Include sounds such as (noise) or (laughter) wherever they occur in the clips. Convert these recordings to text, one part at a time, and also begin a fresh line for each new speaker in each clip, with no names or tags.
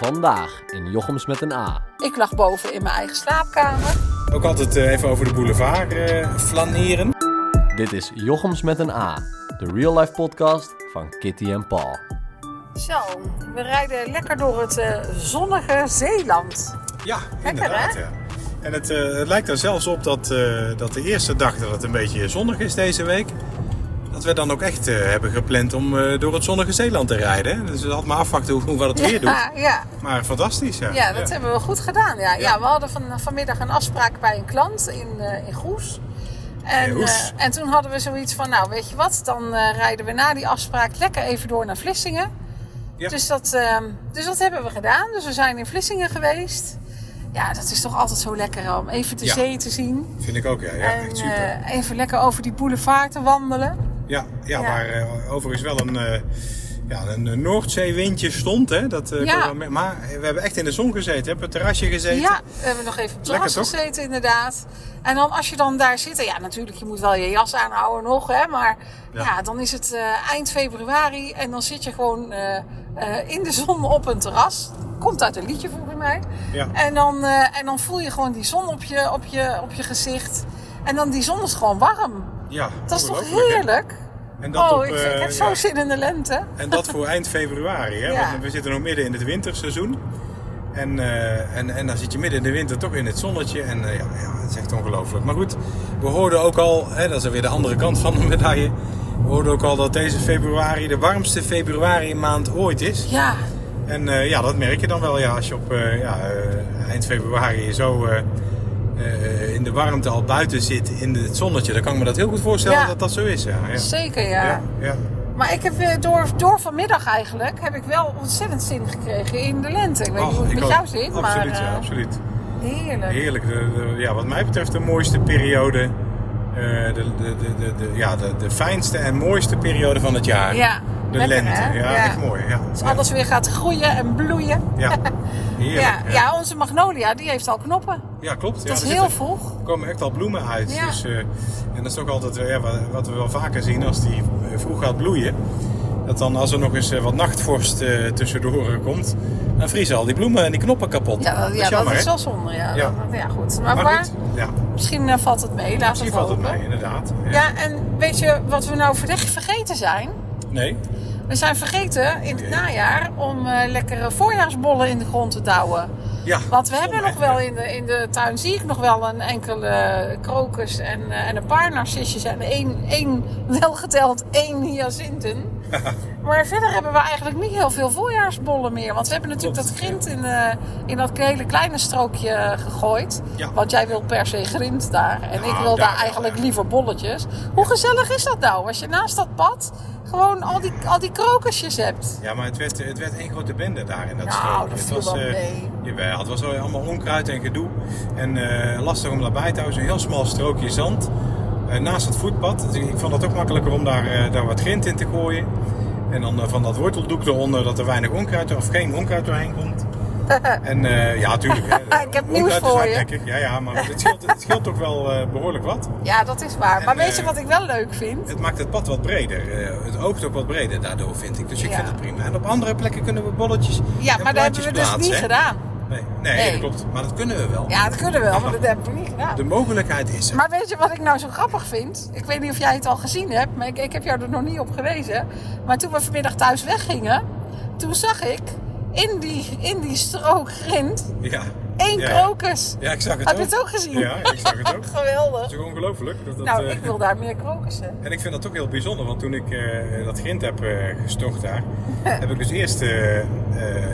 Vandaag in Jochems met een A.
Ik lag boven in mijn eigen slaapkamer.
Ook altijd eh, even over de boulevard eh, flaneren.
Dit is Jochems met een A, de real life podcast van Kitty en Paul.
Zo, we rijden lekker door het eh, zonnige Zeeland.
Ja,
Lekker,
inderdaad.
hè?
ja. En het, eh, het lijkt er zelfs op dat, eh, dat de eerste dag dat het een beetje zonnig is deze week. Dat we dan ook echt eh, hebben gepland om eh, door het zonnige Zeeland te rijden. hè. Dus we hadden maar afwachten hoe, hoe wat het weer doet.
Ja, ja,
Maar fantastisch, ja.
ja, dat
Ja.
hebben we goed gedaan. Ja. Ja. we hadden van, vanmiddag een afspraak bij een klant in, eh, in Goes. En,
In Goes.
eh, en toen hadden we zoiets van, nou weet je wat, dan eh, rijden we na die afspraak lekker even door naar Vlissingen.
Ja.
Dus, dat, ehm, dus dat hebben we gedaan. Dus we zijn in Vlissingen geweest. Ja, dat is toch altijd zo lekker om even de
Ja.
zee te zien.
Vind ik ook, ja. ja
en
echt super.
eh, even lekker over die boulevard te wandelen.
Ja, ja,
Ja.
waar eh, overigens wel een, eh, ja, een eh, Noordzeewindje stond. Hè? Dat, eh,
Ja.
kon wel me- maar we hebben echt in de zon gezeten, hè, op het terrasje gezeten.
Ja, we hebben nog even op het
Lekker,
terras
toch?
gezeten inderdaad. En dan als je dan daar zit, ja natuurlijk, je moet wel je jas aanhouden nog, hè, maar ja.
Ja.
dan is het eh, eind februari en dan zit je gewoon eh, eh, in de zon op een terras. Komt uit een liedje volgens mij.
Ja.
En, dan, eh, en dan voel je gewoon die zon op je, op, je, op je gezicht. En dan die zon is gewoon warm.
Ja,
Dat is toch
ongelooflijk, hè?
heerlijk?
En dat
oh,
op,
ik,
eh,
ik heb
ja.
zo zin in de lente.
En dat voor eind februari. Hè?
Ja.
Want we zitten nog midden in het winterseizoen. En, eh, en, en dan zit je midden in de winter toch in het zonnetje. En eh, ja, ja, het is echt ongelooflijk. Maar goed, we hoorden ook al, hè, dat is weer de andere kant van de medaille. We hoorden ook al dat deze februari de warmste februari maand ooit is.
Ja,
En eh, ja, dat merk je dan wel ja, als je op eh, ja, eh, eind februari zo eh, eh, in de warmte al buiten zit in het zonnetje. Dan kan ik me dat heel goed voorstellen
Ja.
dat dat zo is. Ja, ja.
zeker
Ja, ja.
Maar ik heb weer door, door vanmiddag eigenlijk heb ik wel ontzettend zin gekregen in de lente. Ik weet niet
Oh,
hoe het
ik
met
ook.
jou zit, maar
Absoluut, ja,
eh,
absoluut.
heerlijk.
Heerlijk. De- de- ja, wat mij betreft de mooiste periode. eh, de, de, de, de, de- ja, de, de fijnste en mooiste periode van het jaar.
Ja,
de
lekker,
lente.
hè?
Ja,
Ja.
echt mooi. Ja.
Als Dus alles weer gaat groeien en bloeien. (laughs)
Ja.
Ja,
Heerlijk.
ja. onze magnolia die heeft al knoppen.
Ja, klopt. Ja,
dat
er
is heel
zitten-
vroeg.
Er komen echt al bloemen uit.
Ja.
Dus, eh, en dat is ook altijd eh, ja, wat, wat we wel vaker zien als die eh, vroeg gaat bloeien. Dat dan als er nog eens eh, wat nachtvorst eh, tussendoor eh, komt, dan vriezen al die bloemen en die knoppen kapot.
Ja, dat,
is
ja,
jammer,
dat is
hè?
wel zonde. Ja,
Ja.
Dat- ja goed. Maar,
Maar
waar-
goed, ja,
misschien eh, valt het mee. Laat
misschien
het
valt het
hopen.
mee, inderdaad.
Ja, en weet je wat we nou verre- vergeten zijn?
Nee?
We zijn vergeten in het
Oké.
najaar om eh, lekkere voorjaarsbollen in de grond te douwen.
Ja.
Want we hebben
zonde,
nog wel
ja.
in de, in de tuin, zie ik nog wel een enkele krokus en, eh, en een paar narcisjes en één, één welgeteld één
(laughs)
hyacinten. maar verder hebben we eigenlijk niet heel veel voorjaarsbollen meer. Want we hebben natuurlijk dat
Klopt,
grind in, eh, in dat hele kleine strookje gegooid.
Ja.
Want jij wil per se grind daar. En
Nou,
ik wil daar
daar wel,
eigenlijk
ja.
liever bolletjes. Hoe gezellig is dat nou? Als je naast dat pad gewoon al die, al die krokusjes hebt.
Ja, maar het werd, het werd één grote bende daar in dat
Nou,
strookje.
dat
Het
viel
was,
wel
eh,
mee.
jawel, het was wel allemaal onkruid en gedoe. En eh, lastig om daarbij te houden. Een heel smal strookje zand eh, naast het voetpad. Dus ik, ik vond het ook makkelijker om daar, eh, daar wat grind in te gooien. En dan eh, van dat worteldoek eronder dat er weinig onkruid of geen onkruid doorheen
(laughs)
komt. En eh, ja, tuurlijk. hè.
Ik heb nieuws
Onkruid is
voor je.
hardnekkig. Ja, ja, maar het scheelt, het scheelt ook wel eh, behoorlijk wat.
Ja, dat is waar.
En,
maar weet je
eh,
wat ik wel leuk vind?
Het maakt het pad wat breder. eh, het oogt ook wat breder daardoor, vind ik. Dus ik
Ja.
vind het prima. En op andere plekken kunnen we bolletjes
Ja,
en
maar dat hebben we dus
plaatjes plaatsen,
niet
hè?
gedaan.
Nee, nee,
Nee.
dat klopt. Maar dat kunnen we wel.
Ja, dat kunnen we wel, maar dat hebben we niet gedaan.
De mogelijkheid is er.
Maar weet je wat ik nou zo grappig vind? Ik weet niet of jij het al gezien hebt, maar ik, ik heb jou er nog niet op gewezen. Maar toen we vanmiddag thuis weggingen, toen zag ik in die, in die strook grind
ja.
één
ja.
krokus.
Ja, ik zag het
Heb
ook.
je het ook gezien?
Ja, ik zag het ook. Het
(laughs) Geweldig.
is ook ongelooflijk. Dat, dat,
Nou,
eh,
ik wil daar meer krokussen.
(laughs) En ik vind dat ook heel bijzonder, want toen ik eh, dat grind heb eh, gestort
(laughs)
daar, heb ik dus eerst eh, eh,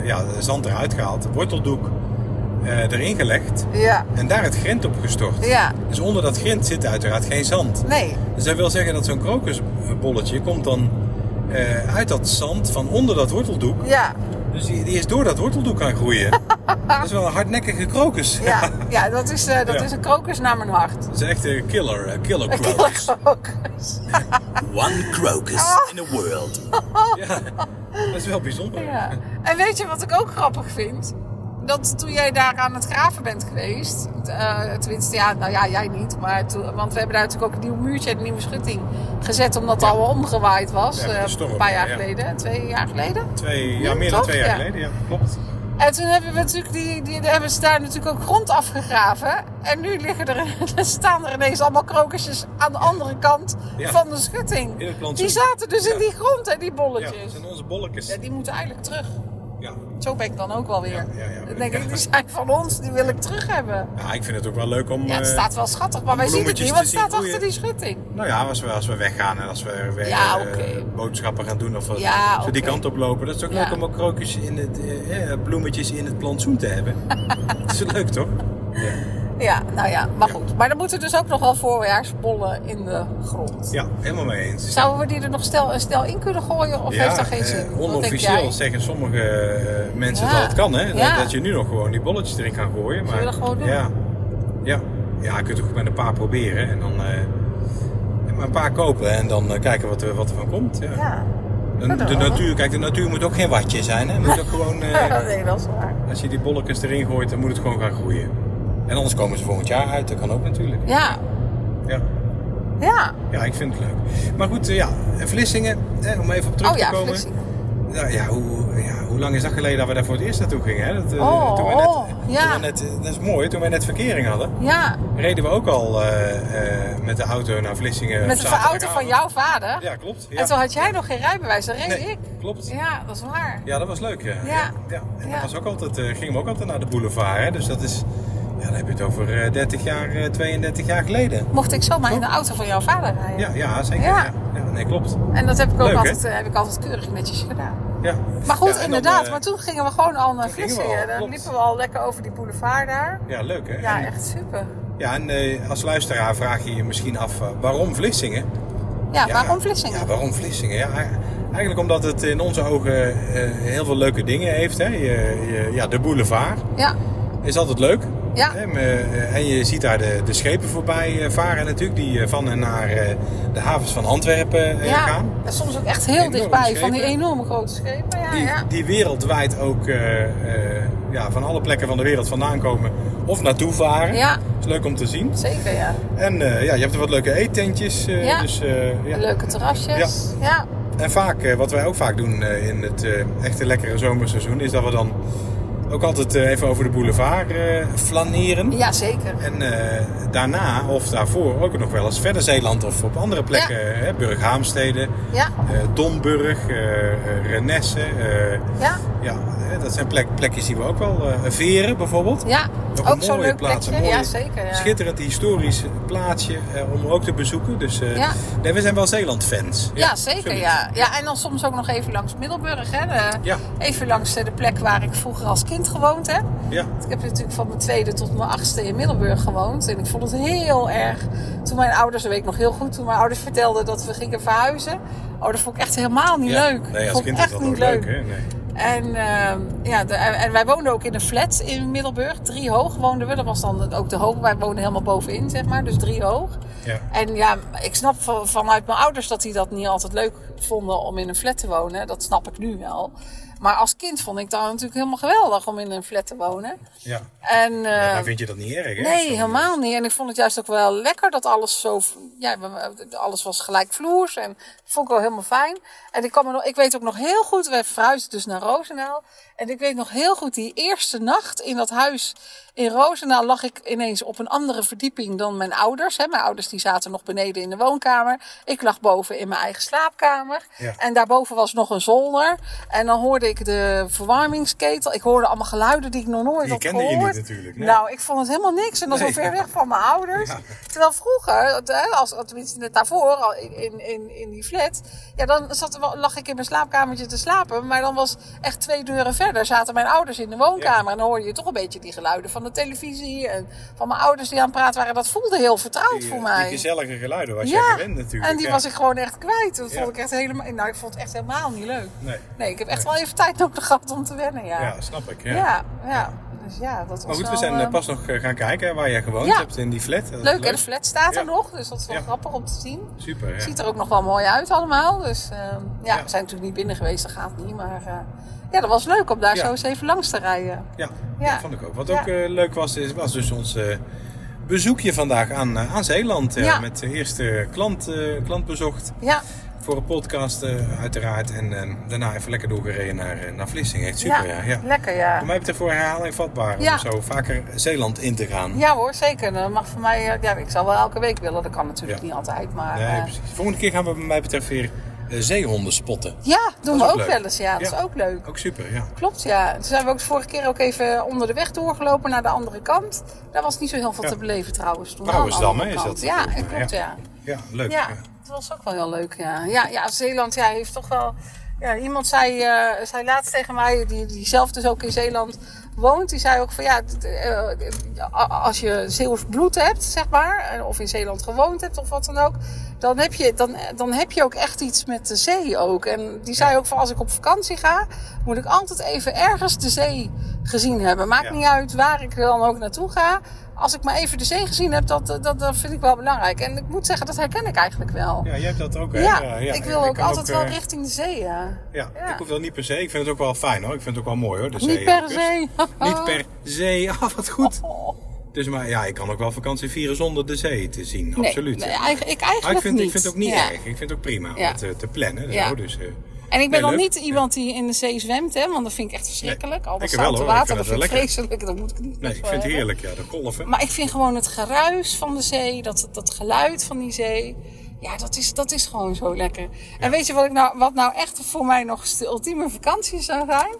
ja, zand eruit gehaald, worteldoek eh, erin gelegd
Ja.
en daar het grind op gestort.
Ja.
Dus onder dat grind zit uiteraard geen zand.
Nee.
Dus dat wil zeggen dat zo'n krokusbolletje komt dan eh, uit dat zand van onder dat worteldoek.
Ja.
Dus die, die is door dat worteldoek gaan groeien.
(laughs)
dat is wel een hardnekkige krokus.
Ja. ja, dat is, eh, dat
Ja.
is een krokus naar mijn hart.
(laughs) dat is echt een killer, eh, killer
Een
krokus.
kille (laughs) krokus. Ah.
One crocus in the
(laughs)
world.
Ja, dat is wel bijzonder.
Ja. En weet je wat ik ook grappig vind? Dat toen jij daar aan het graven bent geweest, eh, tenminste, ja, nou ja, jij niet, maar toen, want we hebben daar natuurlijk ook een nieuw muurtje en een nieuwe schutting gezet, omdat het al omgewaaid was,
Ja, met de
eh,
storm,
een paar jaar
ja.
geleden, twee jaar geleden.
Twee,
Ja,
ja, meer dan
toch?
twee jaar
Ja.
geleden, ja, klopt.
En toen hebben we natuurlijk die, die, die hebben ze daar natuurlijk ook grond afgegraven. En nu liggen er, (laughs) er staan er ineens allemaal krokusjes aan de andere kant
Ja.
van de schutting.
In het plantsoen.
die zaten dus
Ja.
in die grond en die
Ja, dat
bolletjes.
zijn onze bolletjes.
Ja, die moeten eigenlijk terug.
Ja.
Zo ben ik dan ook wel weer.
Ja, ja, ja.
Dan denk ik, die zijn van ons, die wil ik terug hebben.
Ja, ik vind het ook wel leuk om...
Ja, het
eh,
staat wel schattig, maar wij zien het
bloemetjes
niet, want
te
het
zien Oh,
staat achter
groeien.
die schutting.
Nou ja, als we, als we weggaan en als we weer
Ja,
eh,
oké.
boodschappen gaan doen of wat,
Ja,
als we die
oké.
kant op lopen. Dat is ook
Ja.
leuk om ook krookjes in het, eh, eh, bloemetjes in het plantsoen te
(laughs)
hebben. dat is leuk toch? Ja.
Ja, nou ja, maar goed. Maar dan moeten dus ook nog wel voorjaarsbollen in de grond.
Ja, helemaal mee eens.
Zouden we die er nog stel, stel in kunnen gooien of heeft dat geen
eh,
zin? Wat denk jij?
onofficieel zeggen sommige eh, mensen
Ja.
dat het kan, hè? Dat-
Ja.
Dat je nu nog gewoon die bolletjes erin kan gooien. Maar,
we dat gewoon doen?
Ja, ja. ja je kunt het ook met een paar proberen en dan eh, en maar een paar kopen en dan eh, kijken wat er, wat er van komt. Ja.
Ja,
De,
dat
de
wel.
natuur, kijk, de natuur moet ook geen watje zijn. Hè? Moet ook
(laughs)
gewoon, eh,
dat denk ik wel zwaar.
als je die bolletjes erin gooit, dan moet het gewoon gaan groeien. En anders komen ze volgend jaar uit, dat kan ook natuurlijk.
Ja,
Ja,
ja.
ja ik vind het leuk. Maar goed, eh, ja, en Vlissingen, hè, om even op terug
Oh
te
ja,
komen.
flexie.
Nou ja, hoe, ja, hoe lang is dat geleden dat we daar voor het eerst naartoe gingen? Hè? Dat, eh,
Oh,
toen we net,
oh, ja.
toen we net, eh, dat is mooi, toen we net verkering hadden,
Ja,
reden we ook al eh, eh, met de auto naar Vlissingen. op
met de auto van
zaterdagavond.
jouw vader.
Ja, klopt. Ja.
En toen had jij nog geen rijbewijs, dat reed
Nee,
ik.
Klopt. Ja.
Ja, dat is waar.
dat was leuk. Ja.
Ja.
En dat
Ja.
was ook altijd, eh, gingen we ook altijd naar de boulevard. Hè? Dus dat is, ja, dan heb je het over eh, 30 jaar, eh, 32 jaar geleden.
Mocht ik zomaar in de auto van jouw vader rijden.
Ja, ja zeker.
Ja.
Ja. Ja, nee, klopt.
En dat heb ik ook
Leuk, hè?
altijd, eh, heb ik altijd keurig netjes gedaan.
Ja.
Maar goed,
Ja, en dan,
inderdaad.
eh,
maar toen gingen we gewoon al naar
gingen we
Vlissingen.
al,
dan
klopt.
liepen we al lekker over die boulevard daar.
Ja, leuk hè?
Ja,
En-
echt super.
Ja, en eh, als luisteraar vraag je je misschien af eh, waarom Vlissingen?
Ja, Ah, waarom Vlissingen?
Ja, waarom Vlissingen? Ja, e- eigenlijk omdat het in onze ogen eh, heel veel leuke dingen heeft. Hè. Je, je- ja, de boulevard
Ja,
is altijd leuk.
Ja.
Hè, maar, eh, en je ziet daar de, de schepen voorbij eh, varen natuurlijk, die eh, van en naar eh, de havens van Antwerpen eh,
ja.
gaan.
En soms ook echt heel
Enorme
dichtbij van die
schepen.
enorme grote schepen. Ja,
Die,
ja.
die wereldwijd ook eh, eh, ja, van alle plekken van de wereld vandaan komen of naartoe varen.
Ja.
is leuk om te zien.
Zeker, ja.
En eh, ja, je hebt er wat leuke eettentjes. eh,
Ja.
dus, eh, ja.
Leuke terrasjes. Ja. ja.
En vaak, eh, wat wij ook vaak doen eh, in het eh, echte lekkere zomerseizoen, is dat we dan ook altijd eh, even over de boulevard eh, flaneren.
zeker.
En eh, daarna of daarvoor ook nog wel eens verder Zeeland of op andere plekken. Hè, Burghaamstede,
Ja,
eh, Domburg, eh, eh, Renesse. eh,
ja,
ja, hè, dat zijn plek, plekjes die we ook wel... eh, Veren bijvoorbeeld.
ja.
Ook,
Ook
een
zo'n
mooie
leuk
plaats.
plekje.
Een mooie,
Ja, zeker. Ja.
Schitterend historisch plaatsje eh, om ook te bezoeken. Dus eh,
Ja.
nee, we zijn wel Zeeland-fans.
Ja, zeker.
absoluut.
Ja. ja, en dan soms ook nog even langs Middelburg. Hè. De-
Ja.
Even langs eh, de plek waar ik vroeger als kind gewoond heb.
ja.
Ik heb natuurlijk van mijn tweede tot mijn achtste in Middelburg gewoond. En ik vond het heel erg. Toen mijn ouders, dat weet ik nog heel goed, toen mijn ouders vertelden dat we gingen verhuizen. Oh, dat vond ik echt helemaal niet
Ja.
leuk.
Nee, als
vond ik
kind
echt
is dat
niet
ook leuk. hè? Nee.
En, ehm, ja, de- en wij woonden ook in een flat in Middelburg. Drie hoog woonden we. Dat was dan ook de hoog. Wij woonden helemaal bovenin, zeg maar. Dus drie hoog.
Ja.
En ja, ik snap van- vanuit mijn ouders dat die dat niet altijd leuk vonden om in een flat te wonen. Dat snap ik nu wel. Maar als kind vond ik dat natuurlijk helemaal geweldig om in een flat te wonen.
Ja.
En,
Ja,
ehm,
dan vind je dat niet erg, hè? eh.
Nee, helemaal niet. En ik vond het juist ook wel lekker dat alles zo. Ja, alles was gelijkvloers. En dat vond ik wel helemaal fijn. En ik, kan me nog, ik weet ook nog heel goed. Wij verhuisden dus naar Roosendaal. En ik weet nog heel goed die eerste nacht in dat huis in Roosendaal. lag ik ineens op een andere verdieping dan mijn ouders. Hè. Mijn ouders die zaten nog beneden in de woonkamer. Ik lag boven in mijn eigen slaapkamer.
Ja.
En daarboven was nog een zolder. En dan hoorde ik de verwarmingsketel. Ik hoorde allemaal geluiden die ik nog nooit
Die
had
kende je
gehoord.
niet natuurlijk, nee.
Nou, nou, ik vond het helemaal niks. En dat is
Nee.
al ver weg van mijn ouders.
(laughs) Ja.
Terwijl vroeger, hè, als, tenminste net daarvoor, al in- in, in, in die flat... Ja, dan zat, er wel- lag ik in mijn slaapkamertje te slapen. Maar dan was echt twee deuren verder zaten mijn ouders in de woonkamer.
Ja.
En dan hoorde je toch een beetje die geluiden van de televisie... en van mijn ouders die aan het praten waren. Dat voelde heel vertrouwd
Die, eh,
voor mij.
Die gezellige geluiden
ja,
was jij gewend natuurlijk.
en die
ja.
was ik gewoon echt kwijt. Dat
Ja.
vond ik echt helemaal... Nou, ik vond het echt helemaal niet leuk.
Nee.
ik heb echt
Nee.
wel even tijd nodig gehad om te wennen, ja.
Ja, snap ik. Ja.
Nou, ja. ja, Dus ja, dat was
Maar goed, we
wel,
zijn eh,
eh,
pas nog eh, gaan kijken hè, waar jij gewoond
Ja.
hebt in die flat. Dat is
Leuk, en de flat staat er
Ja.
nog, dus dat is wel
Ja.
grappig om te zien.
Super, ja.
Ziet er ook nog wel mooi uit allemaal. Dus ehm, ja,
Ja.
we zijn natuurlijk niet binnen geweest, dat gaat niet. Maar eh, ja, dat was leuk om daar
Ja.
zo eens even langs te rijden.
Ja,
Ja.
dat vond ik ook. Wat
Ja.
ook eh, leuk was, is, was dus ons eh, bezoekje vandaag aan, eh, aan Zeeland. eh,
Ja.
Met de eerste klant, eh, klant bezocht.
Ja,
voor een podcast eh, uiteraard. En eh, daarna even lekker doorgereden naar, eh, naar Vlissingen. Echt super, ja. ja.
Lekker, ja.
Voor mij betreft voor herhaling vatbaar
Ja.
om zo vaker Zeeland in te gaan.
Ja hoor, zeker. Dat mag voor mij... eh, Ja, ik zou wel elke week willen. Dat kan natuurlijk
Ja.
niet altijd, maar...
Nee,
eh,
precies. Volgende keer gaan we bij mij betreft weer eh, zeehonden spotten.
ja, doen
is
we
ook
ook
leuk.
wel eens. Ja, dat
Ja.
is ook leuk.
Ook super, ja.
Klopt, ja. Toen zijn we ook de vorige keer ook even onder de weg doorgelopen naar de andere kant. Daar was niet zo heel veel
Ja.
te beleven trouwens. Toen
Brouwersdam,
aan de
hè,
andere
is
kant.
dat?
Ja, klopt, ja.
Ja, leuk.
Ja,
ja.
dat was ook wel heel leuk, ja. Ja, ja Zeeland ja, heeft toch wel... Ja, iemand zei, eh, zei laatst tegen mij, die, die zelf dus ook in Zeeland woont, die zei ook van ja, d- eh, a- als je Zeeuws bloed hebt, zeg maar, eh, of in Zeeland gewoond hebt of wat dan ook, dan heb je, dan, eh, dan heb je ook echt iets met de zee ook. En die zei ook van als ik op vakantie ga, moet ik altijd even ergens de zee gezien hebben. Maakt
Ja.
niet uit waar ik dan ook naartoe ga. Als ik maar even de zee gezien heb, dat, dat, dat vind ik wel belangrijk. En ik moet zeggen, dat herken ik eigenlijk wel.
Ja, jij hebt dat ook, hè?
Ja,
Ja,
ik wil ook
kan
altijd wel
eh,
richting de zee, ja.
Ja,
Ja.
ik hoef wel niet per se. Ik vind het ook wel fijn, hoor. Ik vind het ook wel mooi, hoor. De zee
Niet
en
per
de kust.
se.
(laughs) Niet per se. (laughs) Ah, wat goed.
Oh,
Dus maar ja, ik kan ook wel vakantie vieren zonder de zee te zien.
nee,
Absoluut.
Nee, eigenlijk, ik
maar
eigenlijk
ik vind,
niet.
ik vind het ook niet
Ja.
erg. Ik vind het ook prima om
Ja.
het eh, te plannen.
Ja.
Zo, dus, eh,
En ik ben
nee,
dan
leuk.
niet iemand die in de zee zwemt, hè, want dat vind ik echt verschrikkelijk. Al dat
Ik wel,
zoute
hoor. Ik
water,
vind
dat
het
vind ik
wel lekker.
vreselijk. Dat moet ik niet.
Nee,
best
ik
wel
vind het
hebben.
heerlijk, ja. De golven.
Maar ik vind gewoon het geruis van de zee, dat, dat geluid van die zee. Ja, dat is, dat is gewoon zo lekker. En weet je wat, ik nou, wat nou echt voor mij nog eens de ultieme vakantie zou zijn?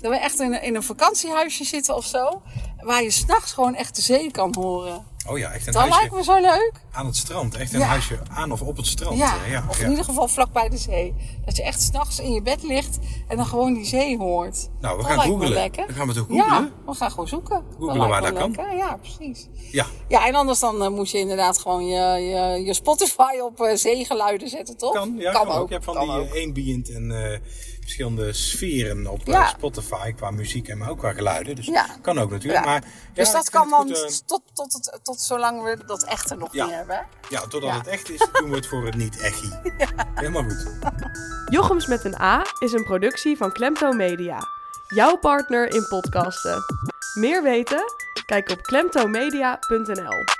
Dat we echt in, een- in een vakantiehuisje zitten of zo. Waar je s'nachts gewoon echt de zee kan horen.
Oh ja, echt een
Dat
huisje
lijkt me zo leuk.
aan het strand. Echt een
Ja.
huisje aan of op het strand.
Ja,
eh, ja,
of
ja.
in ieder geval vlakbij de zee. Dat je echt s'nachts in je bed ligt en dan gewoon die zee hoort.
Nou, we
Dat
gaan
lijkt me
googelen.
lekker.
Dan gaan we toch
Ja,
googelen?
we gaan gewoon zoeken.
Googelen
lijkt
waar
me
dat kan.
lekker. Ja, precies.
Ja.
Ja, en anders dan eh, moet je inderdaad gewoon je, je, je Spotify op eh, zeegeluiden zetten, toch?
Kan, ja, kan, ook. Je hebt van
kan
die
ook.
eh, ambient en eh, verschillende sferen op eh,
Ja.
Spotify qua muziek en maar ook qua geluiden. Dus
Ja.
kan ook natuurlijk.
Ja.
Maar, ja,
dus dat
ik vind
kan
het
dan
goed, eh,
tot, tot, het- tot zolang we dat echte nog
Ja.
niet hebben. hè?
eh, ja, totdat
Ja.
het echt is, doen we het voor het
(laughs)
niet-echie. Helemaal goed.
Jochems met een A is een productie van Klemto Media, jouw partner in podcasten. Meer weten? Kijk op klemtomedia.nl.